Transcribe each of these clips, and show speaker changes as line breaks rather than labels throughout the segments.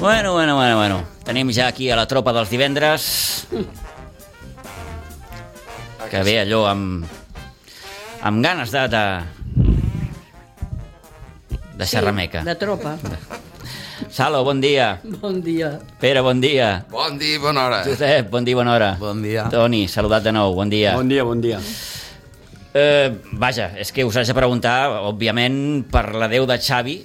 bueno, bueno, bueno. Tenim ja aquí a la tropa dels divendres. Que ve allò amb... amb ganes de... de, de xerrameca.
De tropa.
Salo, bon dia.
Bon dia.
Pere, bon dia.
Bon dia, bona hora.
Josep, bon dia, bona hora.
Bon dia.
Toni, saludat de nou, bon dia.
Bon dia, bon dia.
Eh, vaja, és que us haig de preguntar, òbviament, per la Déu de Xavi,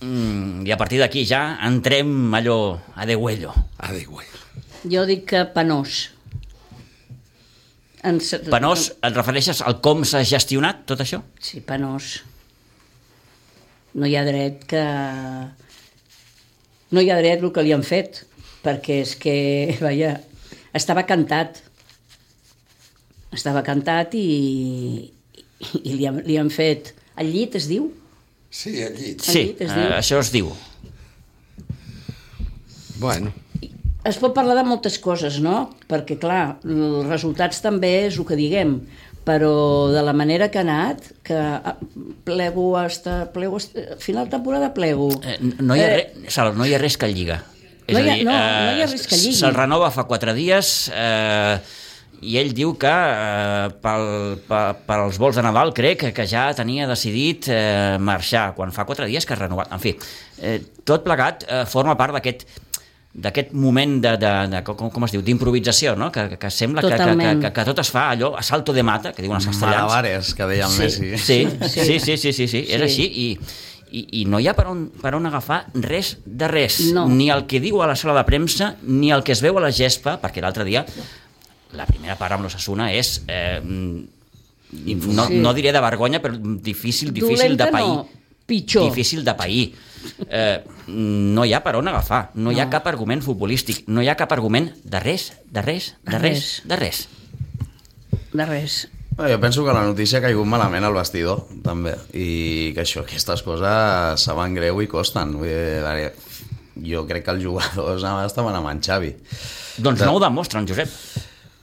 mm, i a partir d'aquí ja entrem allò a de huello.
Adéu.
Jo dic que penós. En... cer-
Penós, et refereixes al com s'ha gestionat tot això?
Sí, penós. No hi ha dret que... No hi ha dret el que li han fet, perquè és que, vaja, estava cantat. Estava cantat i, i li, han, li han fet... El llit es diu?
Sí, al llit.
Sí,
dit,
eh,
es diu.
això es diu.
Bueno,
Es pot parlar de moltes coses, no? Perquè, clar, els resultats també és el que diguem, però de la manera que ha anat, que ah, plego hasta... Plego hasta final temporada plego.
Eh, no, hi ha re, Salo, no hi ha res que lliga.
No hi ha- no, no hi ha res que
eh, s-
lligui.
Se'l renova fa quatre dies eh, i ell diu que eh, pel, pel, pels vols de Nadal crec que ja tenia decidit eh, marxar quan fa quatre dies que ha renovat. En fi, eh, tot plegat eh, forma part d'aquest d'aquest moment de, de, de com, com es diu, d'improvisació, no? que, que sembla que, que, que,
Totalment.
que, que tot es fa allò a salto de mata, que diuen els castellans.
Mm, Malabares, que deia el
Sí.
Messi.
Sí, sí, sí, sí, sí, sí, sí. és
Sí.
així i, i, i no hi ha per on, per on agafar res de res,
No.
ni el que diu a la sala de premsa, ni el que es veu a la gespa, perquè l'altre dia la primera part amb l'Ossassuna és... Eh, no,
Sí.
no diré de vergonya, però difícil, difícil
Dolenta
de pair.
no, pitjor.
Difícil de pair. Eh, no hi ha per on agafar, no, hi ha
No.
cap argument futbolístic, no hi ha cap argument de res, de res, de
De
res,
res.
de res.
De res.
Bé, Jo penso que la notícia ha caigut malament al vestidor, també, i que això, aquestes coses saben greu i costen. Vull dir, a veure, jo crec que els jugadors ara estaven amb en Xavi.
Doncs no ho demostren, Josep.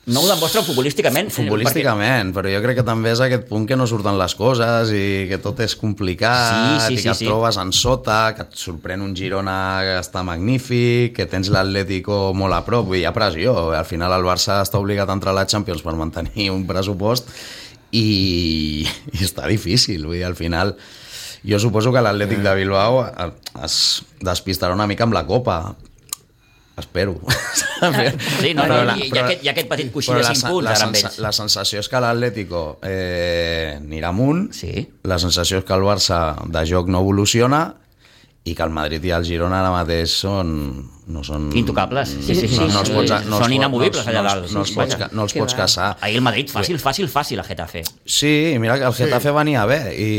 No ho demostren futbolísticament. eh,
Futbolísticament, però jo crec que també és aquest punt que no surten les coses i que tot és complicat
Sí, sí,
i
sí,
que et
sí.
trobes en sota, que et sorprèn un Girona que està magnífic, que tens l'Atlético molt a prop, i hi ha pressió. Al final el Barça està obligat a entrar a la Champions per mantenir un pressupost i, i està difícil, vull dir, al final... Jo suposo que l'Atlètic de Bilbao eh, es despistarà una mica amb la Copa, espero.
Sí, no,
Però
no,
la-
i, i,
però-
aquest, i aquest petit coixí
però
de
la
5
sen-
punts
la,
ara amb
sensa-
ells.
la sensació és que l'Atlético eh, anirà amunt,
Sí.
la sensació és que el Barça de joc no evoluciona i que el Madrid i el Girona ara mateix són... No són
Intocables, sí, sí,
no,
sí,
no els
sí.
pots, no els
Són
pots-
inamovibles
no,
allà
no,
dalt,
No, els
sí,
pots,
vaja.
ca- no els
Que
pots
va.
caçar.
Ahir el Madrid, fàcil, fàcil, fàcil, a Getafe.
Sí, i mira que el Getafe venia bé i...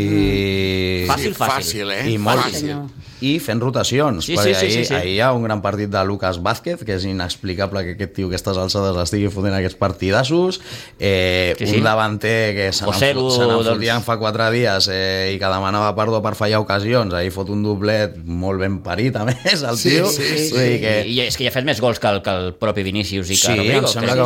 Fàcil,
sí, fàcil, eh?
I molt
Fàcil.
Senyor.
i fent rotacions,
Sí,
sí,
sí,
perquè
sí, sí,
ahir,
sí.
ahir hi ha un gran partit de Lucas Vázquez, que és inexplicable que aquest tio a aquestes alçades estigui fotent aquests partidassos, eh,
Sí,
sí,
sí.
sí. un davanter que se
Joselu,
n'enfo- se n'enfotien
doncs.
fa quatre dies eh, i que demanava perdó per fallar ocasions, ahir fot un doblet molt ben parit, a més, el
Sí,
tio.
sí, sí.
Vull dir que...
I, I és que ja ha fet més gols que el, que el propi Vinícius i que
Sí, em
Rodrigo.
sembla
crec.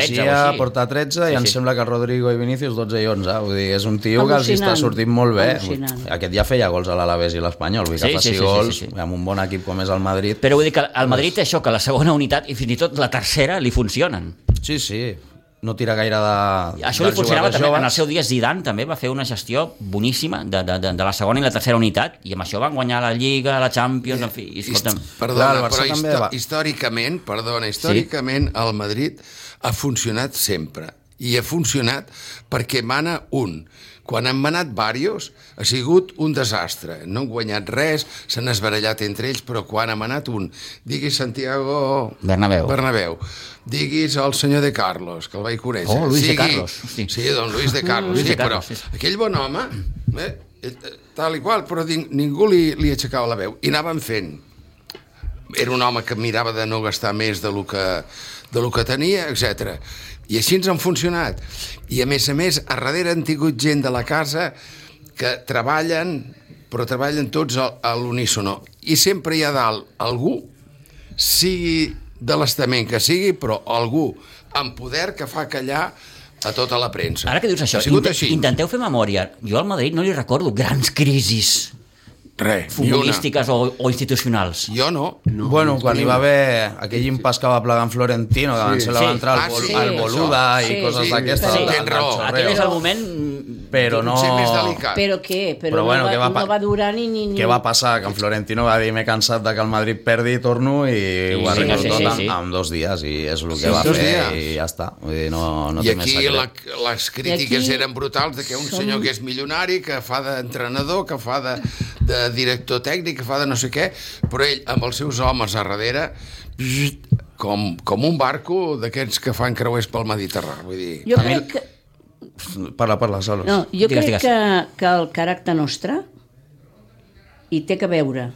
que
Sí, sí, porta 13 o
avui llegia
així.
porta 13 i
Sí,
em
sí.
sembla que Rodrigo i Vinícius 12 i 11, vull dir, és un tio que els hi està
Al·lucinant.
sortint molt bé.
Al·lucinant.
Aquest ja feia gols a l'Alavés i l'Espanyol, vull dir
Sí,
que
sí,
faci
sí, sí,
gols
sí, sí.
amb un bon equip com és el Madrid.
Però vull dir que al Madrid això, que la segona unitat i fins i tot la tercera li funcionen.
Sí, sí, no tira gaire de...
Això li
dels
funcionava
jugadors
també.
joves.
En el seu dia Zidane també va fer una gestió boníssima de, de, de, de la segona i la tercera unitat i amb això van guanyar la Lliga, la Champions, en fi. I, escolta'm,
Hist- Perdona,
Clar, el Barça
però
també
histo
va.
històricament, perdona, històricament el Madrid ha funcionat sempre i ha funcionat perquè mana un. Quan han manat varios ha sigut un desastre. No han guanyat res, s'han esbarallat entre ells, però quan ha manat un, diguis Santiago
Bernabéu.
Bernabéu diguis el senyor de Carlos, que el vaig conèixer.
Oh, Luis de Carlos,
Sí,
hosti.
sí don Luis de Carlos.
Luis
sí,
de Carlos,
però
sí, sí.
aquell bon home, eh, eh, tal i qual, però din- ningú li, li aixecava la veu. I anaven fent era un home que mirava de no gastar més de lo que, de lo que tenia, etc. I així ens han funcionat. I a més a més, a darrere han tingut gent de la casa que treballen, però treballen tots a, a l'unísono. I sempre hi ha dalt algú, sigui de l'estament que sigui, però algú amb poder que fa callar a tota la premsa.
Ara que dius això,
ha sigut
inte-
així.
intenteu fer memòria. Jo al Madrid no li recordo grans crisis
Res, ni una.
futbolístiques o, o institucionals.
Jo no.
No, bueno, quan hi va haver aquell impàs que va plegar en Florentino, que sí. se la
Sí.
va entrar
Ah,
al, bol,
sí.
al Boluda
Sí.
i coses
Sí.
d'aquestes.
Sí.
del-
Tens
del
raó.
xorreo.
Aquell és el moment... mm,
Però no...
Potser més delicat.
Però què? Però,
Però bueno,
no, va,
què va pa-
no va durar ni... ni, ni...
Què va passar? Que en Florentino va dir m'he cansat de que el Madrid perdi, torno i ho
sí,
arreglo
sí, sí,
tot
sí,
en,
sí.
en dos dies i és el que
Sí,
va
dos
fer
dies.
i ja està. Vull dir, no, no
I
té més
aquí
secret.
la, les crítiques
aquí
eren brutals de que un
som-
senyor que és milionari, que fa d'entrenador, que fa de, de director tècnic, que fa de no sé què, però ell, amb els seus homes a darrere, com, com un barco d'aquests que fan creuers pel Mediterrani. Vull dir,
Jo crec que...
Parla, parla, Solos.
No,
doncs,
jo
Digues,
digues,
digues.
crec digues. Que, que el caràcter nostre hi té que veure,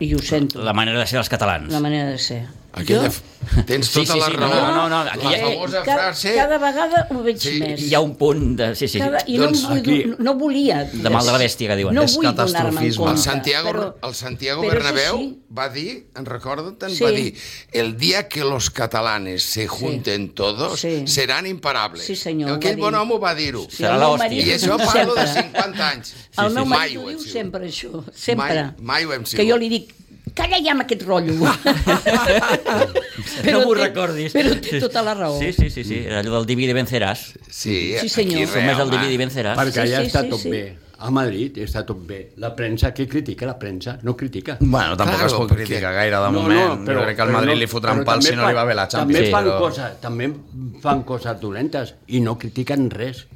i ho sento,
La manera de ser dels catalans.
la manera de ser.
aquella...
Jo,
f- Tens
Sí,
tota
sí,
la
sí, no,
raó.
no, no, Eh, no, aquí
la
hi ha-
famosa
cada,
frase...
cada vegada ho veig
Sí,
sí, més.
Hi ha un punt de... Sí, sí, sí.
Cada, I
Doncs
no, em vull,
aquí-
aquí, no volia...
De mal de la bèstia, que diuen.
No
És
vull donar-me'n
catastrofisme.
compte,
El Santiago,
però-
el Santiago
però és
Bernabéu
així.
va dir, en recordo tant,
Sí.
va dir el dia que los catalanes se junten todos
Sí.
seran imparables.
Sí, senyor, ho
Aquell
va
bon
dir.
home ho va dir-ho.
Sí,
Serà
el meu
l'hòstia.
marit
I això
sempre.
parlo de 50 anys.
El meu
Mai
marit
ho
ho
hem
diu
sigut.
sempre, això. Sempre.
Mai- mai ho hem sigut.
Que jo li dic, calla ja amb aquest rotllo.
Però no m'ho
té-
recordis.
Però té tota la raó.
Sí, sí, sí, sí. Era allò del divide venceràs.
Sí,
Sí, senyor.
aquí
Només el
home.
divide venceràs.
Perquè
Sí,
allà
sí,
està
sí,
tot
sí.
bé. A Madrid està tot bé. La premsa, què critica la premsa? No critica.
Bueno, tampoc
Claro,
es pot
perquè-
criticar gaire de moment. jo crec que al Madrid
no,
li fotran
però
pal si
també
no li va
fan-
bé la Champions.
També fan,
però-
coses, també fan coses dolentes i no critiquen res.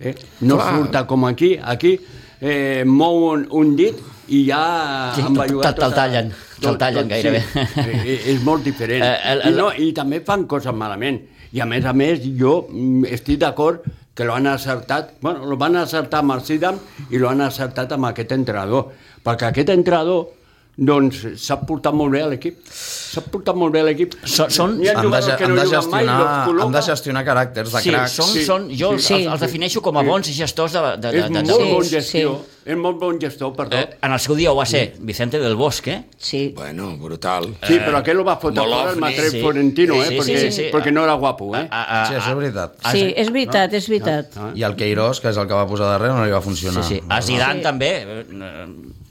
Eh? No
Clar.
Clar. surta com aquí. Aquí eh, mouen un dit i ja...
Sí,
han
te'l-
bellugat
te'l- te'l
tota-
tallen, te'l
tot-
tallen
tot,
gairebé.
Sí, Eh, és molt diferent.
Eh, el- el-
I, no, I també fan coses malament. I a més a més, jo mm, estic d'acord que l'han acertat, bueno, lo van acertar amb el Sidam i l'han acertat amb aquest entrenador, perquè aquest entrenador doncs s'ha portat molt bé a l'equip. S'ha portat molt bé a l'equip.
Són- són-
Hi ha
Han de,
jugadors
ge-
que
han,
no
de
juguen mai,
gestionar,
los
han de
col·loca.
gestionar caràcters de
Sí,
cracs.
són,
sí.
són, jo els,
Sí.
els, els defineixo com a bons gestors de, de, de,
És
de,
molt
de,
bon
sí,
gestor,
sí.
és molt bon gestor, perdó.
Eh, en el seu dia ho va ser Vicente del Bosque,
Sí.
Bueno, brutal.
Eh,
Sí, però aquest lo va fotre fora el
Golovni,
Matrev
sí.
Florentino, eh?
Sí, sí,
perquè,
sí, Ah, sí.
perquè no era guapo, eh?
a, a,
Sí, això és veritat.
Ah,
Sí,
sí.
és veritat, és veritat.
Ah.
I el Queiroz, que és el que va posar darrere, no li va funcionar.
Sí, sí. A Zidane sí. també, eh,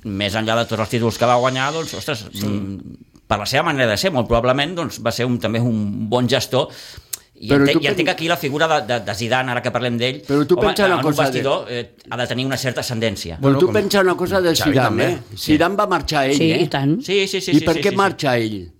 més enllà de tots els títols que va guanyar, doncs, ostres, sí. per la seva manera de ser, molt probablement, doncs, va ser un, també un bon gestor. I,
Però
entenc,
tu
i entenc
pen-
que aquí la figura de, de, de Zidane, ara que parlem d'ell,
Però tu pensa una
en un
cosa,
vestidor eh, ha de tenir una certa ascendència.
Però
Bueno,
Doncs tu
com-
pensa una cosa del
Xavi
Zidane,
també.
eh? Zidane va marxar ell,
Sí,
eh?
i tant.
Sí, sí, sí.
I
sí,
per
sí,
què
sí,
marxa ell?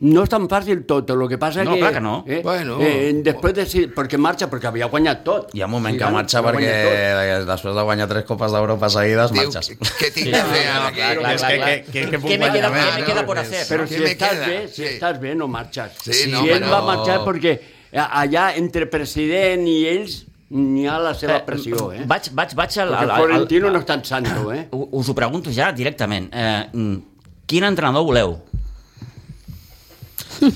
No és tan fàcil tot, el que passa
No,
que...
clar que no.
Eh?
Bueno.
Eh, després de... si- Perquè marxa, perquè havia guanyat tot.
Hi ha un moment que
Zidane
marxa
va
perquè
guanyar
després de guanyar tres copes d'Europa seguides,
Diu,
marxes.
què tinc de fer ara?
clar,
aquí?
clar,
És que- que- que- que puc
Què me
guanyar
queda,
més,
eh?
què me
no?
queda por hacer?
Però
Però...
Què
si
me
estàs
queda?
bé, si
Sí.
estàs bé, no marxes.
Sí,
si
no,
ell
però-
va marxar perquè allà, entre president i ells, n'hi ha la seva pressió, eh?
mm, Vaig, vaig, vaig al,
Perquè
al, al, al,
Florentino no és tan santo, eh?
U- us ho pregunto ja directament. Eh, mm, quin entrenador voleu?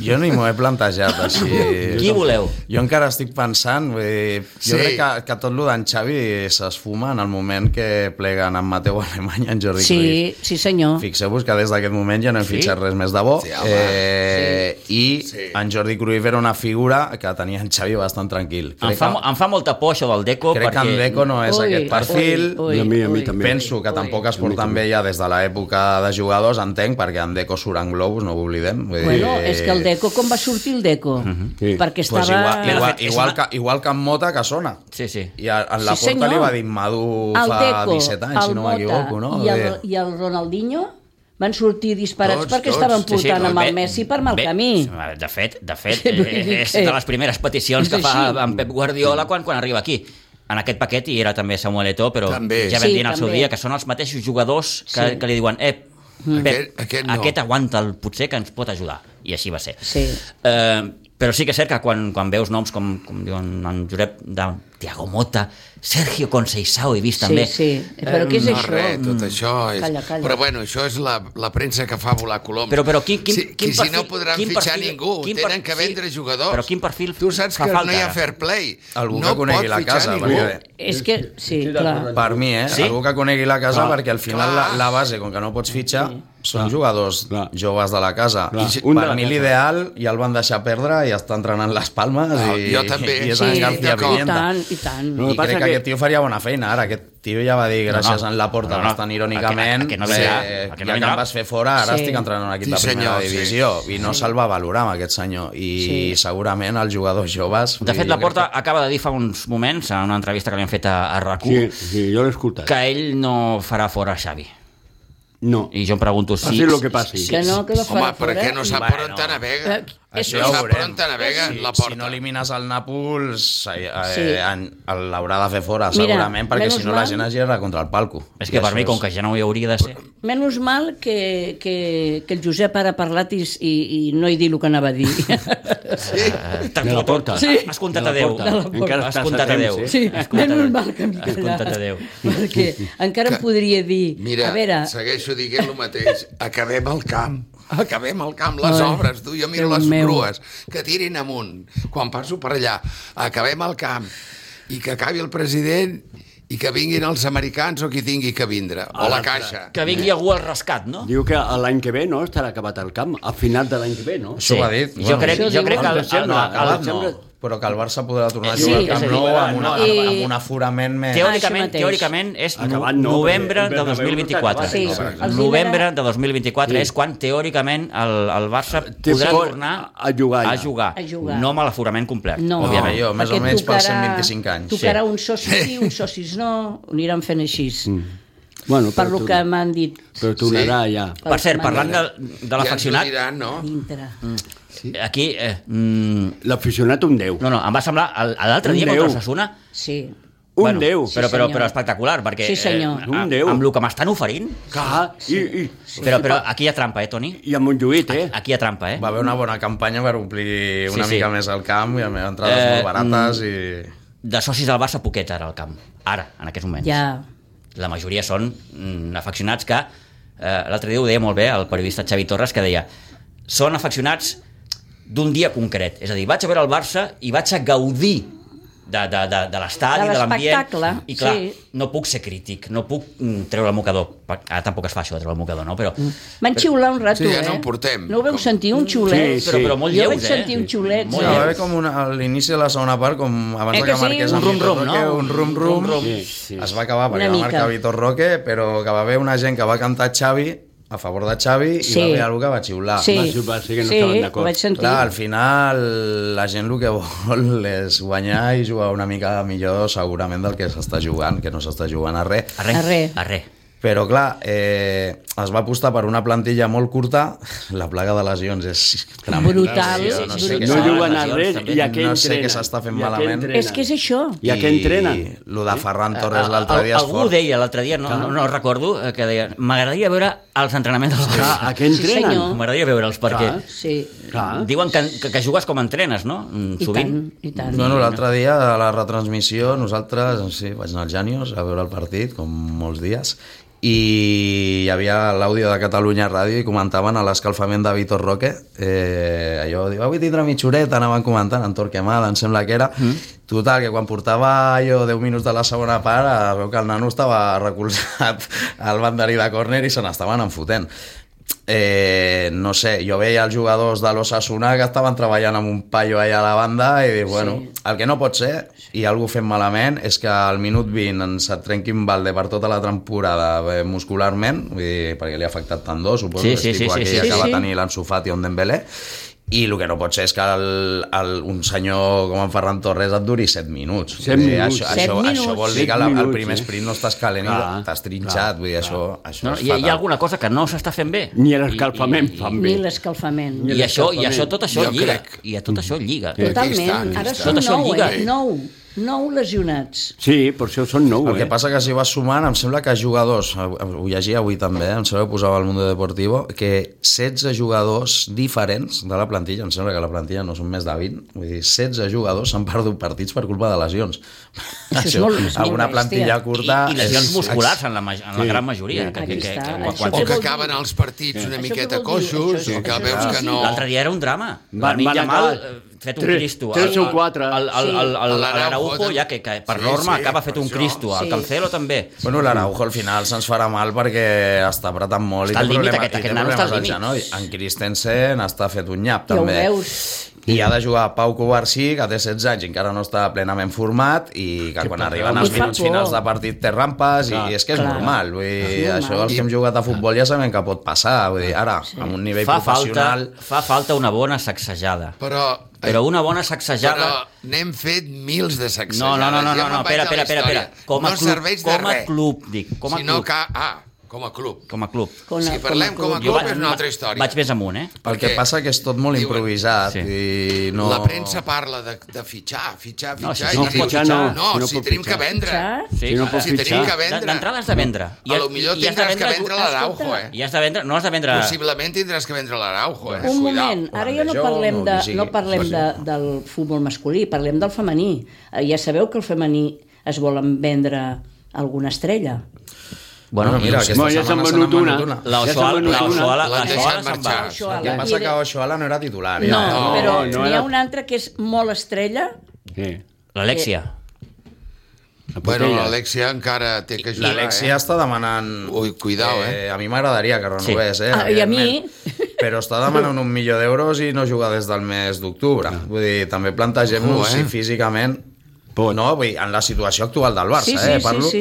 Jo ni m'ho he plantejat, així.
Qui voleu?
Jo encara estic pensant, vull dir,
Sí.
jo crec que, que tot el d'en Xavi s'esfuma en el moment que pleguen en Mateu Alemany i en Jordi
Sí,
Cruyff.
sí senyor.
Fixeu-vos que des d'aquest moment ja no hem
Sí?
fitxat res més de bo.
Sí, home.
eh, I
Sí.
en Jordi Cruyff era una figura que tenia en Xavi bastant tranquil.
Em fa, mo-
que,
em fa molta por això del Deco
crec
perquè...
que en Deco no és
Ui,
aquest perfil.
ui, ui,
A mi- a mi
ui.
també.
Penso que tampoc es porten bé ja des de l'època de jugadors, entenc, perquè en Deco surt en globus, no ho oblidem. Vull
Bueno,
dir-
és que el Deco, com va sortir el Deco?
Sí.
Perquè estava...
Eh, Pues igual,
Però de
igual,
fet, és
igual,
una-
que, igual que en Mota, que sona.
Sí, sí.
I a, en la
Sí,
sí, porta
senyor.
li va dir Madú
el
fa
Deco,
17 anys, si
el
no
Mota
m'equivoco, no?
I el,
Bé.
I el Ronaldinho van sortir disparats
Tots,
perquè
tots.
estaven
Sí,
portant
Sí, sí,
amb
bé,
el Messi per mal
bé,
camí.
De fet, de fet
Sí, vull
eh,
dir
és
que-
de les primeres peticions
És
que fa
així.
en Pep Guardiola quan, quan arriba aquí. En aquest paquet hi era també Samuel Eto'o, però
També.
ja vam
Sí,
dir en el seu
també.
dia que són els mateixos jugadors que,
Sí.
que li diuen eh, Pep,
Aquest- aquest no."
aquest aguanta el potser que ens pot ajudar. I així va ser.
Sí.
Eh, però sí que és cert que quan, quan veus noms com, com diuen en Josep de Tiago Mota, Sergio Conceição he vist
Sí,
també.
sí. Però què és
Eh, no,
això?
Res, tot
Mm.
això és...
Calla, calla.
Però bueno, això és la, la premsa que fa volar coloms.
Però, però quin, quin,
si,
quin
que si no podran fitxar ningú, tenen que vendre jugadors.
Però quin perfil
Tu saps
fa
que
falta
no hi ha
ara?
fair play.
Algú
no
que conegui
pot
la
fitxar
casa,
ningú.
perquè-
És que, sí,
Sí,
clar.
Per mi, eh?
Sí?
Sí? Algú que conegui la casa,
Clar.
perquè al final la,
Clar.
la base, com que no pots fitxar, són
Clar.
jugadors
Clar.
joves de la casa.
Clar.
I,
Un de
per
la
mi
casa.
l'ideal ja el van deixar perdre i està entrenant les palmes
Ah,
i,
jo també.
i és
Sí,
en García
d'acord.
Pimienta.
I tant, i tant.
No,
No,
el
I
passa
crec que,
que-
aquest tio faria bona feina, ara. Aquest tio ja va dir, gràcies no, no. a la porta,
No,
no,
no.
no. bastant irònicament,
A que- a que no
eh,
vindrà,
ja
a
que
que no vindrà.
em vas fer fora, ara
Sí.
sí. estic entrant en equip
Sí,
de primera
senyor, sí.
divisió. Sí. I no se'l va valorar amb aquest senyor. I sí. segurament els jugadors joves... vull
De fet,
dir,
la
jo crec
Porta acaba de dir fa uns moments, en una entrevista que li han fet a, a RAC1,
Sí, sí, jo l'he escoltat.
que ell no farà fora Xavi.
No.
I jo em pregunto si...
Passi el que passi.
Que no, que la farà
Home, per
fora.
què no sap
Bueno.
per on t'anavega?
Eh, és-
Això
No
ho
sap per
veurem.
on t'anavega
Si,
la
si no
porta.
elimines el Nàpols, eh,
Sí.
eh, en- el- l'haurà de fer fora,
Mira,
segurament, perquè
menys
si no la
mal-
gent es gira contra el palco.
És
I
que per
això
mi,
és-
com que ja no hi hauria de ser... eh,
Menys mal que, que, que el Josep ara ha parlat i, i, i no he dit el que anava a dir.
Sí.
Eh,
De la Porta.
Sí. Has comptat
De
a
la
Déu.
Porta.
De la Porta.
Encara
Has
estàs a
comptat a
temps,
Déu.
eh?
Sí,
Has comptat
menys
a-
mal que em
Has comptat a
quedarà.
Déu.
Perquè encara em podria dir...
Mira,
a veure,
segueixo dient el mateix. Acabem el camp. Acabem el camp, les
Ai,
obres, tu, jo miro
Déu
les
meu.
grues, que tirin amunt, quan passo per allà. Acabem el camp i que acabi el president i que vinguin els americans o qui tingui que vindre, o la caixa.
Que vingui algú al rescat, no?
Diu que a l'any que ve no estarà acabat el camp, a final de l'any que ve, no?
Això ho ha dit.
Jo crec,
Això
jo
diu-
crec que el,
Al
el,
Ah,
desembre,
No,
el,
acabat
el,
no,
Sembla-
però que el Barça podrà tornar a
Sí,
jugar al
és a
Camp
dir,
Nou amb, una,
i-
amb un aforament més...
teòricament,
mateix.
teòricament és no,
Acabat no,
novembre
perquè
de
el Bernabéu no està acabat,
2024.
Sí,
no?
els
novembre
llibres-
de 2024
Sí.
és quan teòricament el, el Barça
Té
podrà
por
tornar
a jugar ja.
a jugar.
A jugar.
No amb l'aforament complet,
no.
òbviament.
jo, més o
perquè
menys pels
tocarà-
125 anys, sí.
Tocarà uns socis sí, uns socis no, ho aniran fent així.
Bueno,
Per lo
tor-
que m'han dit
Però tornarà ja.
Per cert, parlant de, de
Ja ens ho
l'afeccionat,
diran, no?
dintre.
aquí... Eh, mm,
L'aficionat un 10.
no, no, em va semblar el- l'altre
Un
dia
Déu.
contra Osasuna...
Sí.
Un 10.
Però,
Sí,
però,
senyor.
però espectacular, perquè...
Sí, senyor.
a-
Un Déu.
Amb el que m'estan oferint...
Clar, i, i,
Però, però aquí hi ha trampa, eh, Toni?
i a Montjuïc, eh?
Aquí hi ha trampa, eh?
Va haver una bona campanya per omplir una
Sí, sí.
mica més el camp i amb entrades
Eh,
molt barates i...
de socis del Barça poquet ara al camp, ara, en aquests moments.
Ja.
La majoria són mm, afeccionats que, eh, l'altre dia ho deia molt bé el periodista Xavi Torres, que deia, són afeccionats d'un dia concret. És a dir, vaig a veure el Barça i vaig a gaudir de, de, de, de l'estadi,
De
de l'ambient.
l'espectacle,
I clar,
sí.
no puc ser crític, no puc mm, treure el mocador. Ara tampoc es fa això de treure el mocador, no? Però,
Van xiular un rato,
Sí, ja
eh?
no en portem.
No ho veu
Com-
sentir, un xiulet?
Sí,
però, però molt
jo
lleus,
vaig sentir
eh?
un xiulet.
Molt
Sí, va
lleus.
haver com una, a l'inici de la segona part, com abans
Eh
de
que
que
sí?
marqués
Un
el Vitor
rum-rum,
Roque,
no?
un rum-rum,
Un rum-rum.
Sí, sí.
es va acabar
Una
perquè va
mica.
marcar Vitor Roque, però que va haver una gent que va cantar Xavi a favor de Xavi
Sí.
i va haver algú que va xiular.
Sí,
Va ser- va ser que no
sí,
estaven
ho
d'acord.
vaig sentir.
Clar, al final la gent el que vol és guanyar i jugar una mica millor segurament del que s'està jugant, que no s'està jugant a res.
Arre, arre.
Arre.
arre.
Però, clar, eh, es va apostar per una plantilla molt curta. La plaga de lesions és tremenda.
Brutal,
o sigui, no sé
brutal.
què
No
s'ha-
juguen a
lesions
res
també.
i a què
No
entrenen.
sé què s'està fent
I a què
malament.
entrenen.
És que és això.
I a què entrenen?
I lo de Ferran Torres l'altre
Eh, Al-
dia és
Algú ho
fort.
deia l'altre dia, no, no, no recordo, eh, que deia, m'agradaria veure els entrenaments dels
Clar,
Barça".
a què entrenen?
senyor.
M'agradaria veure'ls, perquè
Clar.
Sí,
Clar.
diuen que, que, que jugues com entrenes, no? Mm,
Ah. i
Sovint.
tant, i tant.
Bueno, l'altre dia de la retransmissió nosaltres, sí, vaig anar al Janios a veure el partit, com molts dies, i hi havia l'àudio de Catalunya Ràdio i comentaven a l'escalfament de Vitor Roque eh, allò, diu, avui tindrà mitjoreta anaven comentant, en Torquemada, em sembla que era mm. total, que quan portava allò 10 minuts de la segona part, es veu que el nano estava recolzat al banderí de córner i se n'estaven enfotent eh, no sé, jo veia els jugadors de l'Ossassuna que estaven treballant amb un paio allà a la banda i dic, bueno, el que no pot ser, i algú fent malament, és que al minut 20 ens et trenqui un balde per tota la temporada eh, muscularment, vull dir, perquè li ha afectat tant dos, suposo,
Sí,
que
sí,
és
sí,
tipus
sí,
aquell
sí,
que
sí.
va tenir l'ensofat i un Dembélé, i el que no pot ser és que el, el, un senyor com en Ferran Torres et duri 7 minuts.
Set
Vull dir,
minuts.
Això,
Set
això,
minuts.
això vol
Set
dir que la,
minuts,
el primer
sí.
sprint no estàs calent
Clar,
i t'has trinxat. vull dir, això,
eh?
això
No?
és
Hi, ha- hi
fatal.
ha alguna cosa que no s'està fent bé.
Ni a l'escalfament fan
Ni
bé.
l'escalfament.
I, i, això, I això, tot això
Jo
lliga.
crec.
I a tot això lliga.
Sí.
Totalment.
Aquí està, aquí
Ara
està.
són
Tot això
nou,
lliga.
eh? Nou. Nou lesionats.
Sí, per això són nou,
El que
eh?
passa que si vas sumant, em sembla que jugadors, ho llegia avui també, eh, em sembla que ho posava al Mundo Deportivo, que 16 jugadors diferents de la plantilla, em sembla que la plantilla no són més de 20, vull dir, 16 jugadors s'han perdut partits per culpa de lesions.
Això és molt- és molt
Ah, alguna
bèstia.
plantilla
I,
curta...
i lesions
és-
musculars en la, ma- en la
Sí.
gran majoria. Que,
Aquí
que, que,
està.
que,
Això
quan,
O
vol
que
quan,
dir?
acaben els partits una
Això què
miqueta
vol dir?
coixos,
Això és-
o que
això
veus
vol
que
dir-
no...
Ah, L'altre dia era un drama.
Van-
Van, mig
van
Yamal,
acabar
eh, fet un
tres-
Cristo.
tres o quatre.
El, el, el, el,
Sí.
el, Araujo, ja que, que per
Sí,
norma
sí,
acaba
per
fet un
això.
Cristo. El
Sí.
Cancelo també.
Bueno, l'Araujo al final se'ns farà mal perquè està apretant molt
Està
i
al
té,
límit,
problema,
aquest-
i té
aquest nano
problemes
està al
al
límit.
genoll. En Christensen està fet un nyap,
Ja ho
també.
veus.
I ha de jugar Pau Covarsí, que té 16 anys i encara no està plenament format, i que,
Que
quan
pena.
arriben
Li
els
fa
minuts
por.
finals de partit té rampes,
Clar,
i és que és
clar.
normal. Vull dir,
És normal.
això els que hem jugat a futbol ja sabem que pot passar. Vull dir, ara, amb un nivell
Fa falta,
professional...
fa falta una bona sacsejada.
Però, eh,
Però una bona
però
sacsejada...
n'hem fet mils de sacsejades.
No, no, no, no,
ja
no,
me'n
no,
vaig
espera, espera,
a la
espera, espera.
història.
Com a
no
club,
serveix de
com a
res.
club, dic, com a
sinó
club.
que, ah, com a club.
Com a club.
Com
Si parlem com a
club.
Jo
club
va-
és una altra història.
Vaig més amunt, eh?
El que
Perquè
passa que és tot molt
diuen-
improvisat
Sí.
i no...
La premsa parla de, de fitxar, fitxar,
No, si
fitxar...
no
i dius,
pot fitxar, no.
no,
Si no
si
pot
tenim
fitxar.
que vendre.
Fitxar?
Si no
clar.
pots
Si tenim
fitxar.
que vendre.
D'entrada has de vendre. I
A
has-
lo millor
i has de
tindràs que
ju-
vendre l'Araujo, eh?
I has de vendre... No has de vendre...
Possiblement tindràs que vendre l'Araujo, eh?
Un
Cuidao.
moment, ara ja no
Barrejó,
parlem,
no,
de,
qui sigui.
no parlem
Sí, sí.
de, del futbol masculí, parlem del femení. Eh, Ja sabeu que el femení es volen vendre alguna estrella.
Bueno,
Bueno, mira,
mira,
aquesta
Bueno,
setmana
ja s'han
se
venut
n'han
una.
venut una.
la
ja s'han
Osoala,
venut
la
una.
Osoala, la
L'han deixat
Osoala se'n va.
marxar.
El que
Oxoala.
passa
I
que
de-
Oxoala no era titular.
No,
Ja. eh?
no,
però
no
n'hi
era-
ha una altra que és molt estrella,
Sí.
L'Alexia.
La
Bueno,
Portella.
l'Alexia encara té que ajudar,
L'Alexia està demanant...
Ui, cuidao, eh?
A mi m'agradaria que renovés, eh?
Ah, i a mi?
evidentment. Però està demanant un milió d'euros i no juga des del mes d'octubre.
Ah.
Vull dir, també
Ojo,
plantegem-nos
eh?
si físicament... No, vull dir, en la situació actual del Barça,
Sí, sí,
eh?
sí,
Parlo...
sí.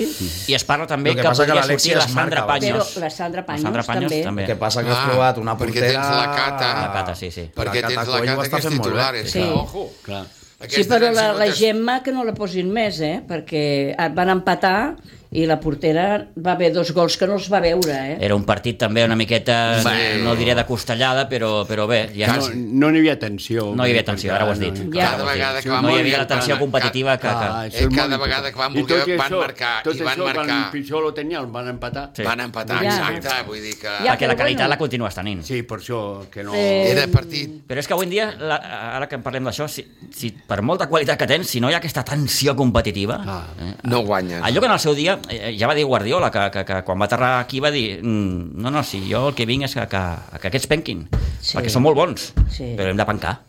I es parla també
El
que,
que passa que
podria
l'Alexia
sortir la
es
Sandra
marca
Panyos.
abans. Però la Sandra Panyos
la Sandra Panyos
també.
també.
El que passa que has
Ah,
trobat una
perquè
portera...
tens la Cata.
La Cata, sí, sí.
Perquè
Eh, La
tens
Cata
la
Coll ho
cata
està
que és
fent molt bé.
titular, és
Sí.
clar, ojo.
Clar.
Sí, però la, la
gent...
Gemma que no la posin més, eh? Perquè et van empatar i la portera va haver dos gols que no els va veure, eh?
Era un partit també una miqueta,
Bueno.
no diré de costellada, però, però bé, ja
No, no n'hi havia tensió.
No hi havia tensió, ara ho has dit.
Ja.
Ara ho has dit.
Cada vegada que
no
vam
hi havia
dir-
la tensió
Cada-
competitiva que...
Ah,
que...
Eh, cada vegada que van voler, van marcar,
tot
i van
això,
marcar.
Quan pitjor lo tenia, el van empatar.
Sí.
Van empatar,
Ja.
exacte, vull dir que...
Ja.
Perquè la
però
qualitat
bueno.
la continues tenint.
Sí, per això que no...
Eh,
Era partit...
Però és que avui en dia, la, ara que en parlem d'això, si, si, per molta qualitat que tens, si no hi ha aquesta tensió competitiva...
Ah.
Eh,
No guanyes.
allò que en el seu dia, eh, ja va dir Guardiola, que, que, que quan va aterrar aquí va dir "Mm, no, no, si jo el que vinc és que, que, que aquests penquin,
Sí.
perquè són molt bons,
Sí.
però hem de pencar.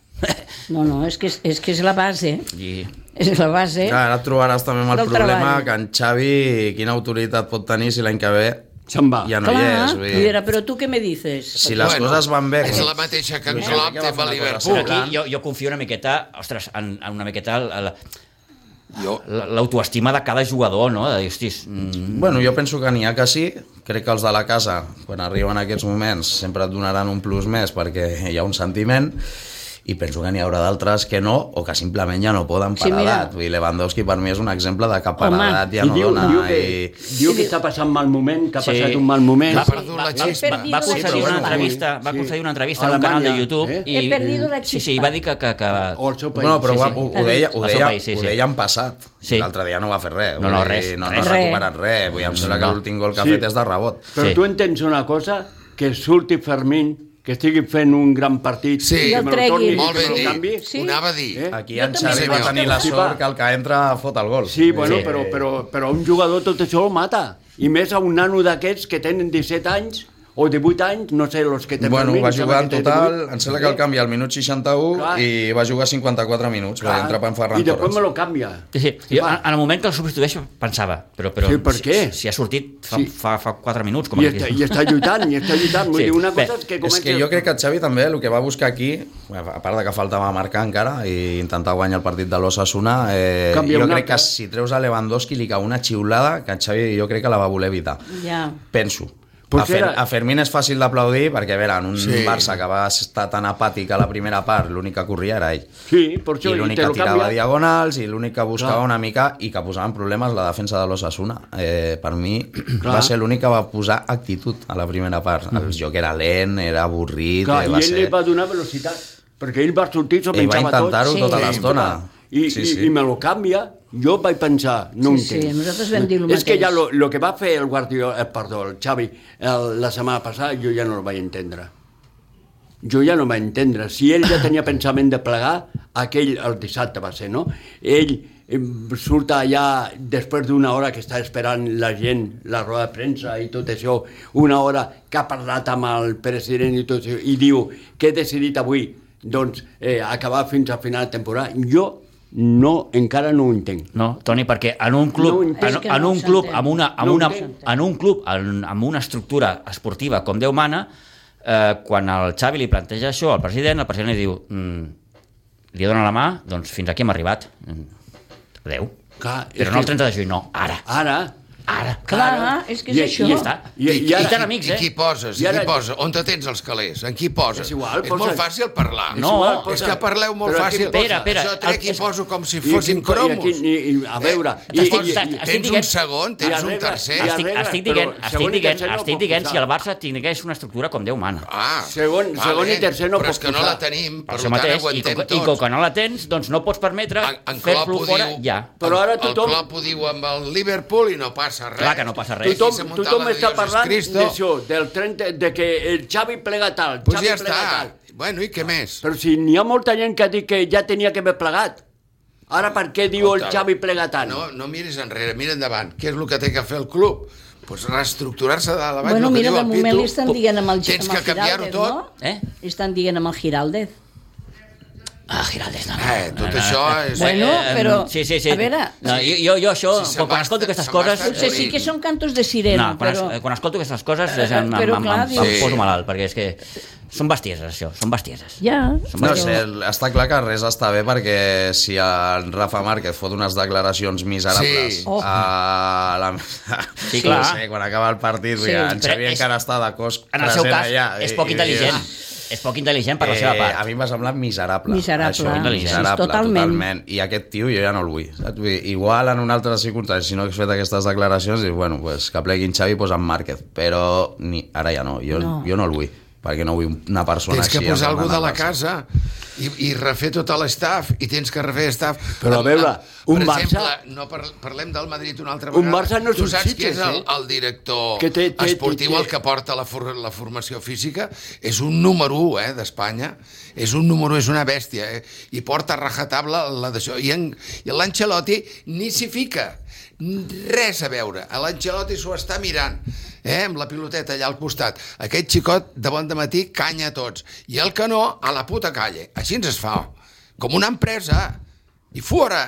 No, no, és que és, és, que és la base.
I
És la base.
Clar, ara et trobaràs també amb el
Del
problema
treball.
que en Xavi quina autoritat pot tenir si l'any que ve
Se'n
Ah.
va.
ja no
Clar,
hi és. Vull
i
dir,
dirà, però tu què me dices?
si les coses van bé...
És la mateixa que en
Luis
Klopp
Enrique
té
va fer
per
Però
una cosa
Liverpool.
semblant.
aquí jo, jo confio una miqueta, ostres, en, en una miqueta la-
Jo...
la- l'autoestima de cada jugador, no? De dir, hostis, mm,
Bueno, jo penso que n'hi ha que sí. Crec que els de la casa, quan arriben aquests moments, sempre et donaran un plus més perquè hi ha un sentiment i penso que n'hi haurà d'altres que no o que simplement ja no poden per
Sí, mira.
edat. Vull dir, Lewandowski per mi és un exemple de que per
Home.
edat ja no
diu,
dona.
diu, que,
I...
diu que està passant mal moment, que ha
Sí.
passat un mal moment.
Va, perdó. perdut la
He
xispa.
va
perdido
Sí,
la
concedir una
però bueno,
xispa.
entrevista,
sí,
va
sí.
concedir una entrevista a un
Alemanya,
canal de YouTube
eh?
i...
He perdido la
Sí, sí, i
chispa.
va dir que... que, que...
O el seu país.
Bueno, però
sí,
ho,
sí.
ho, ho, deia, ho,
Al seu
deia,
país, sí,
ho
sí.
deia en passat.
Sí.
L'altre dia no va fer res.
No, no,
Vull dir,
res,
No, no
res.
ha recuperat res. Vull dir, em sembla que
No.
l'últim gol que
Sí.
ha fet és de rebot.
Però
Sí.
tu entens una cosa? Que surti Fermín, que estigui fent un gran partit,
Sí. I el
que me lo
treguin.
torni,
Molt
que
ben
me lo canvi.
dit,
Sí.
ho anava a dir.
Eh?
Aquí
Jo
en
també
Xavi
crec
va
que
tenir
sí.
la sort que el que entra fot el gol.
Sí, bueno,
Sí.
Però, però, però un jugador tot això ho mata. I més a un nano d'aquests que tenen 17 anys o 18 anys, no sé, els que tenen...
Bueno,
menys,
va
em
jugar en
sembla que té
total,
18.
em sembla que el canvi al minut 61
Clar.
i va jugar 54 minuts, va entrar per en Ferran
Ah, I després me
Torres.
lo canvia.
Sí, sí. Jo, en en el moment que el substitueixo pensava, però, però
Sí, per
si-
què?
Si, si ha sortit fa,
Sí.
fa, fa 4 minuts, com
I
a
està,
mínim.
I està lluitant, i està lluitant. Vull
Sí.
dir, una
Bé,
cosa és que
És
comença...
que jo crec que el Xavi també el que va buscar aquí, a part de que faltava marcar encara i intentar guanyar el partit de l'Ossassuna, eh,
Canvia
jo
un
crec
altre.
que si treus a Lewandowski li cau una xiulada que en Xavi jo crec que la va voler evitar.
Ja.
Penso.
Però
a, Fer,
era-
a Fermín és fàcil d'aplaudir perquè, a veure, en un
Sí.
sí. Barça que va estar tan apàtic a la primera part, l'únic que corria era ell.
Sí, per
I
això, i,
l'únic
te
que
lo
tirava
canvia.
diagonals i l'únic que buscava
Clar.
una mica i que posava en problemes la defensa de l'Ossassuna. Eh, per mi
Clar.
va ser l'únic que va posar actitud a la primera part. El
Mm.
joc era lent, era avorrit,
Clar,
eh,
I
va
ell
ser...
li va donar velocitat, perquè ell va sortir, s'ho
Ell va
pensava tot.
intentar-ho
Sí.
tota
Sí.
l'estona.
I, sí, sí. i me lo canvia, jo vaig pensar, no
Sí, sí,
entenc.
nosaltres vam dir el
És que
mateix.
ja lo, lo que va fer el Guardiola, eh, perdó, el Xavi, el, la setmana passada, jo ja no el vaig entendre. Jo ja no vaig entendre. Si ell ja tenia pensament de plegar, aquell, el dissabte va ser, no? Ell eh, surt allà després d'una hora que està esperant la gent, la roda de premsa i tot això, una hora que ha parlat amb el president i tot això, i diu que he decidit avui doncs, eh, acabar fins a final de temporada. Jo no, encara no ho entenc.
No, Toni, perquè en un club,
No ho
no, en,
És
entenc.
que
en
no
un
ho
club
s'entén.
amb una, amb
No ho
una,
entenc.
en un club en, amb una estructura esportiva com Déu mana, eh, quan el Xavi li planteja això al president, el president li diu mm, li dona la mà, doncs fins aquí hem arribat. Mm. Adéu.
Clar, és
Però no el
que-
30 de juny, no, ara.
Ara,
Ara.
Clar, Ah, és que és
I-
això.
i
Ja està. I, i,
ara-
I tan amics,
I
eh?
qui poses?
I
I,
ara-
qui posa? On te tens els calés? En qui poses?
És igual,
és
posa-
molt fàcil parlar.
No, igual,
és
posa-
que parleu molt
Però aquí
fàcil.
posa-
Espera, espera,
Jo
el-
trec i
és-
poso com si
I
fossin
aquí-
cromos.
I, aquí, i, i, a veure... I,
Eh, Estic-
i,
estic-
i,
estic
tens
dient-
un segon,
i
tens un
arregla-
tercer.
i
Estic,
arregla,
estic
però
dient, estic
segon i
dient,
tercer no
estic
pot
dient
posar.
si el Barça tingués una estructura com Déu mana.
Ah,
Segon- segon i tercer no
però
pots
és que no
posar.
la tenim,
Per
per,
això
tant eh,
mateix, i
aguantem
com, i
tots.
com que no la tens, doncs no pots permetre
En, en Klopp
fer-lo
ho
fora
diu,
ja.
Però ara tothom-
El Klopp ho diu amb el Liverpool i no passa res.
Clar que no passa res.
Aquí se
Tothom,
muntava
tothom
de
està
Dios es
parlant
Cristo.
d'això, del 30, de que el Xavi plega tal, el
Pues
Xavi
ja
plega
està.
tal.
Bueno, i què més?
Però si n'hi ha molta gent que ha dit que ja tenia que haver plegat, ara per què diu el
Escolta,
Xavi plega tant?
Ah, No, no miris enrere, mira endavant. Què és el que té que fer el club? Pues reestructurar-se de la baix,
Bueno,
el que
mira,
diu
de
el
moment
Pitu.
li estan dient amb el, Gi-
Tens
amb el
que canviar-ho
Giraldez,
tot.
no?
Eh?
Li estan dient amb el Giraldez.
Ah, Giraldez, no.
Eh, tot això és...
Bueno,
Eh,
però,
Sí, sí, sí.
a veure-
No, jo, jo, jo això,
Sí, se'n
quan, quan
va
escolto
estar-
aquestes
se'n va
coses...
estar
Potser sí que són cantos de sirena,
Ah, No, quan,
però...
es, eh, quan escolto aquestes coses és, em, em,
Però
em,
clar,
em, em,
dius-
poso malalt, perquè és que són bestieses, això, són bestieses.
Ja,
No sé, el- està clar que res està bé perquè si en Rafa Márquez fot unes declaracions miserables
Sí.
Oh.
a la...
Sí, clar.
No sé, quan acaba el partit,
Sí.
sí. en
Però
Xavi
és-
encara està de cos
En el seu
present
cas,
allà,
és
i-
poc
i-
intel·ligent. És poc intel·ligent per la seva
Eh, a
part.
mi em va semblar miserable.
Miserable.
Sí,
Això,
totalment.
miserable, totalment. totalment. I aquest tio jo ja no el vull. Saps? Vull dir, Igual en una altra circumstància, si no hagués fet aquestes declaracions, dius, bueno, pues, que pleguin Xavi, pues en Márquez. Però ni, ara ja no. Jo,
No.
no. jo no el vull, perquè no vull una persona
Tens
així.
que posar
entrant
algú de
al
la
Barça.
casa i, i refer tot l'estaf i tens que refer staff.
Però a veure, un
per
Barça-
exemple, no par parlem del Madrid una altra
Un
vegada.
Barça no és
tu
un
saps qui
Sitges,
és el,
eh?
el director
Que té- té- té-
esportiu,
té-
el que porta la, for la formació física? És un número 1 eh, d'Espanya. És un número és una bèstia. Eh? I porta a rajatabla la d'això. I, en, i l'Ancelotti ni s'hi fica. Res a veure. A L'Ancelotti s'ho està mirant eh, amb la piloteta allà al costat. Aquest xicot de bon matí canya a tots. I el que no, a la puta calle. Així ens es fa. Com una empresa. I fora.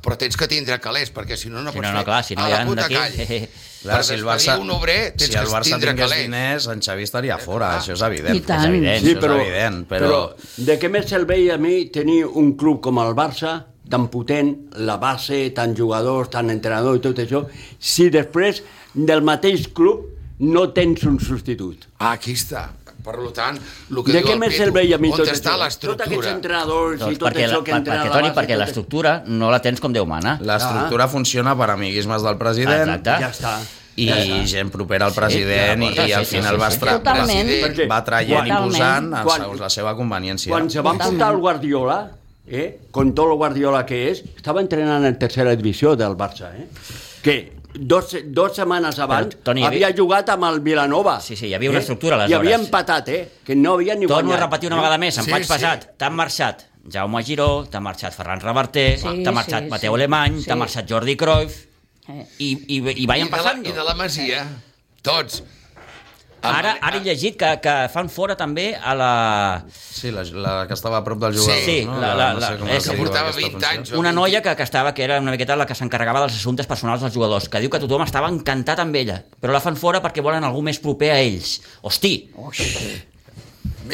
Però tens que tindre calés, perquè si no, no
Si
pots
no, no,
fer
clar, si no
a
hi
la
ha
puta
d'aquí.
calle.
Clar, si el Barça,
un obrer, tens
si el
que
Barça
tindre Eh,
tingués
calés.
diners, en Xavi estaria fora, això és evident.
I tant.
És evident,
Sí,
això
però,
és evident, però...
però de què més servei a mi tenir un club com el Barça, tan potent, la base, tant jugadors, tant entrenador i tot això, si després del mateix club no tens un substitut?
Ah, aquí està. Per lo tant, el que
de
diu
què
el
més
Pitu,
servei a mi
on
tot
està
això? Tots aquests
l'estructura?
entrenadors
Doncs
i tot
perquè, la,
això que
perquè,
entrena a la
Toni,
base...
perquè
tot això.
l'estructura no la tens com Déu mana.
Ah.
L'estructura funciona per amiguismes del president
Exacte.
Ja està.
i
ja està.
gent propera al
Sí,
president
d'acord,
i, i al
sí, sí,
final
sí,
va,
sí.
estra-
Totalment.
president, va traient i
Totalment.
posant eh,
Quan-
segons la seva conveniència.
Quan se va
Totalment.
apuntar el Guardiola, eh, con tot el Guardiola que és, estava entrenant en tercera divisió del Barça, eh? Que dos, dos setmanes abans
Però, Toni, hi havia-
havia jugat amb el Vilanova. Eh?
Sí, sí, hi havia una estructura,
I
aleshores.
havia empatat, eh? Que no havia ni
Torno a
guanyat. eh?
repetir una vegada més, em
Sí,
faig
sí.
pesat. T'han marxat Jaume Giró, t'ha marxat Ferran Reverter,
Sí,
t'ha marxat
sí,
Mateu
sí.
Alemany,
Sí.
t'ha marxat Jordi Cruyff,
Eh.
i, i, i
I
vayan
de, la,
passant.
I de la Ah, Masia, tots.
Ara, ara he llegit que, que fan fora també a la...
Sí, la, la que estava a prop del jugador.
Sí,
no?
la- la- la-
es
és que
diu
portava
aquesta
20
funció.
anys.
Una noia que, que estava, que era una miqueta la que s'encarregava dels assumptes personals dels jugadors, que diu que tothom estava encantat amb ella, però la fan fora perquè volen algú més proper a ells. Hosti!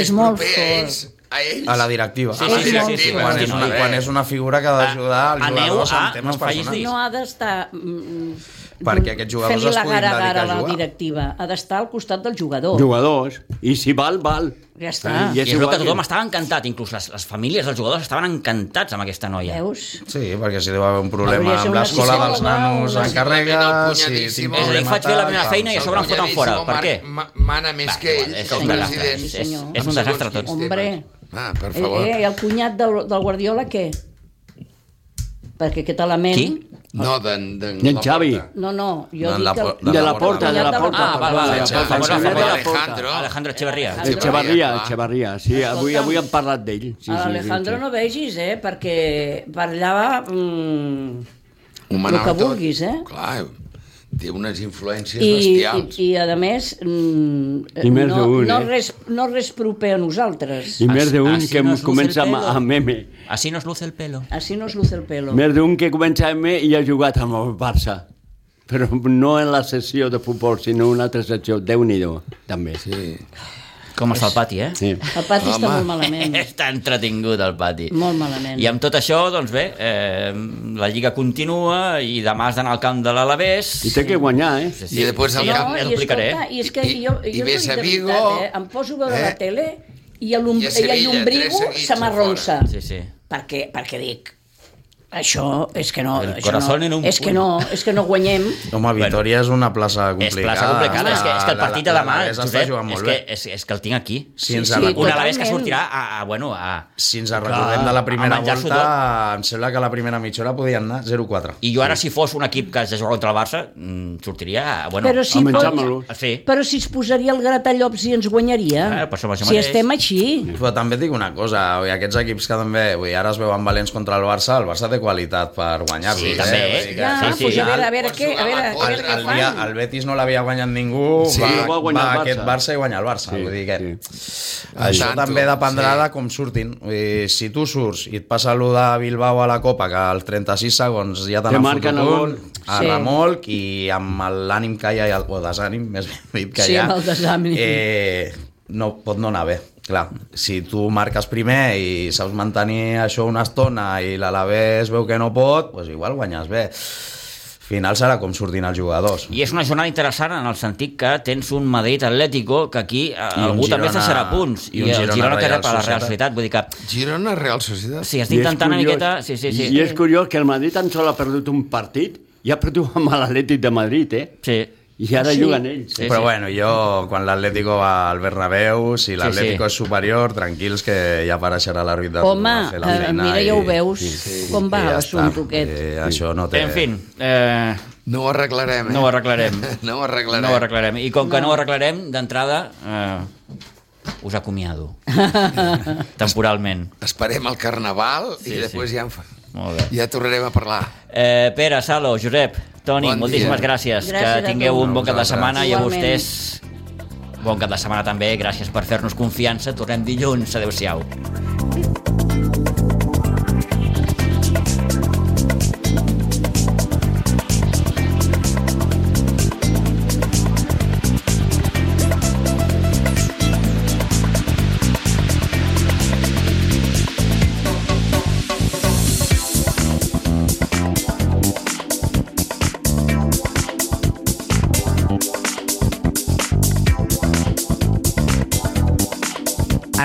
És molt
proper eh?
fort.
A ells, a ells.
A la directiva.
Sí,
sí, sí, sí, sí,
Quan,
sí,
és
sí,
una,
sí.
quan és una figura que ha d'ajudar els
Aneu
jugadors
a-
en temes
no em facis dir.
personals.
No ha d'estar... mm,
Perquè aquests jugadors
fent-li
es
la
puguin
gara
dedicar a
gara la
jugar.
directiva. Ha d'estar al costat del jugador.
Jugadors. I si val, val.
Ja està.
I
I
és
és
veu
igual
que tothom
que-
estava encantat, inclús les, les famílies dels jugadors estaven encantats amb aquesta noia.
Veus?
Sí, perquè si deu haver un problema
Hauria de ser
amb
una
l'escola
psicòloga,
dels nanos
una-
s'encarrega, si
És a
tinc
dir,
problema
faig bé la
tal,
meva
tal.
feina i a sobre em foten fora. Per què?
Ma- Mana més
Va,
que
igual,
ell,
és
que
un
el
desastre,
president.
sí, senyor.
És un desastre tot.
Hombre.
Ah, per
Eh,
favor.
eh, I el cunyat del, del Guardiola, què? Perquè aquest element...
Qui?
No, d'en... d'en
D'en
Laporta.
Xavi.
No, no, jo
No, en
dic
la
que...
por-
el-
De la porta, de la
Ah,
porta.
val, val,
perdó,
val,
de la
val, val,
porta.
val,
El de la
val,
porta.
Alejandro.
Alejandro Echeverría.
Alejandro.
Echevarria,
clar.
Echevarria, sí, avui,
Escolta'm.
avui hem parlat d'ell. Sí, sí,
Sí,
sí, sí.
Alejandro no vegis, eh? Perquè per allà va... Mm,
Ho manava
El que
tot.
vulguis, eh?
Clar, té unes influències
i, i,
bestials.
I, a més... Mm,
I més
no,
d'un,
no,
eh?
res, no res proper a nosaltres.
I més d'un
Así
que
nos luce
comença
el
amb,
pelo.
amb meme.
Así nos luce el pelo.
Així no es luce el pelo.
Més d'un que comença amb M i ha jugat amb el Barça. Però no en la sessió de futbol, sinó en una altra sessió. déu nhi també. Sí.
Sí.
Com està el pati, eh?
Sí.
El pati està molt malament.
Està entretingut el pati.
Molt malament.
I amb tot això, doncs bé, eh, la Lliga continua i demà has d'anar al camp de l'Alavés.
I té que guanyar, eh?
Sí,
I després al
ja, eh?
camp-
ja
i
t'ho explicaré.
escolta, I és que
I-
jo,
i
jo
ves
t'ho
a
dic de
Vigo,
veritat, eh? em poso a veure
eh?
la tele i el, um,
I
i
a Sevilla,
el
tres
llombrigo
seguits
se m'arronsa.
Sí, sí.
Perquè, perquè dic, això és que no,
El
això
corazón en
no,
un
és que
puny.
no, és que no guanyem.
Home, Vitoria bueno, és una plaça complicada.
És plaça complicada, és que, és que el partit de
La- la-
demà,
l'Alavés està
Josep, és
jugant molt
que,
bé.
és, és que el tinc aquí.
Si ens,
Sí,
sí,
sí,
Un
recordem,
Alavés que
Totalment.
sortirà a, a bueno, a...
si ens recordem de la
a
primera
menjar-s'ho
volta, em sembla que la primera mitja hora podien anar 0-4.
I jo ara, si fos un equip que has de jugar contra el Barça, mm, sortiria a... Bueno, Ah,
Però si,
a menjar-me-lo.
pot,
a fer.
però si es posaria el gratallops i ens guanyaria.
Ah, per això mateix.
si estem així.
Però també et dic una cosa, vull, dir, aquests equips que també, vull, dir, ara es veuen valents contra el Barça, el Barça té qualitat per guanyar-los.
Sí, també,
eh? Vull dir que
Ja,
Sí,
al
sí.
pues a
final-
veure, a veure
Quan
què,
juga
a
la
veure, a
el,
veure què
el,
fan.
dia, el Betis no l'havia guanyat ningú,
Sí,
sí, va,
va
va,
guanyar el Barça.
aquest Barça i guanyar el Barça.
Sí,
Sí, vull dir que
sí.
sí. Això
Tanto,
també dependrà
sí.
sí. de com surtin. Vull dir, si tu surts i et passa allò de Bilbao a la Copa, que als 36 segons ja te
Te
n'han
marquen
fotut
el
un,
gol.
a
Sí.
sí. remolc i amb l'ànim que hi ha, o desànim, més ben dit que
Sí,
hi ha,
amb el desànim.
eh, no, pot no anar bé. Clar, si tu marques primer i saps mantenir això una estona i l'Alavés veu que no pot, doncs igual guanyes bé. Al final serà com sortin els jugadors.
I és una jornada interessant en el sentit que tens un Madrid Atlético que aquí eh,
un
algú també
Girona-
s'assarà punts
i un
i el
Girona
Girona que
Real
rep a la Real
Societat.
Societat vull dir que
Girona, Real Societat.
sí,
I
estic
és
intentant una
curiós-
miqueta sí, sí, sí,
I és curiós que el Madrid tan sol ha perdut un partit i ha perdut amb l'Atlètic de Madrid, eh?
sí.
I ara
Sí.
juguen ells.
Sí,
Sí, Però
sí.
bueno, jo, quan l'Atlético va al Bernabéu, si l'Atlético
sí.
és superior, tranquils que ja apareixerà l'àrbit de
Home,
tornar a fer la
eh,
feina
mira,
i-
ja ho veus, com va
i ja
l'assumpte
està.
aquest.
I això no té...
en fi eh,
No ho arreglarem, eh?
no ho arreglarem
No ho arreglarem.
no ho arreglarem i com que no ho arreglarem d'entrada eh, us acomiado temporalment
Esperem el carnaval i després ja, en fa-
molt bé
ja tornarem a parlar.
Eh, Pere, Salo, Josep, Toni,
Bon dia.
bon moltíssimes gràcies.
Gràcies a
que tingueu
tu.
un bon cap de
Vosaltres.
setmana i a
Igualment.
vostès bon cap de setmana també. Gràcies per fer-nos confiança. Tornem dilluns. Adéu-siau.
A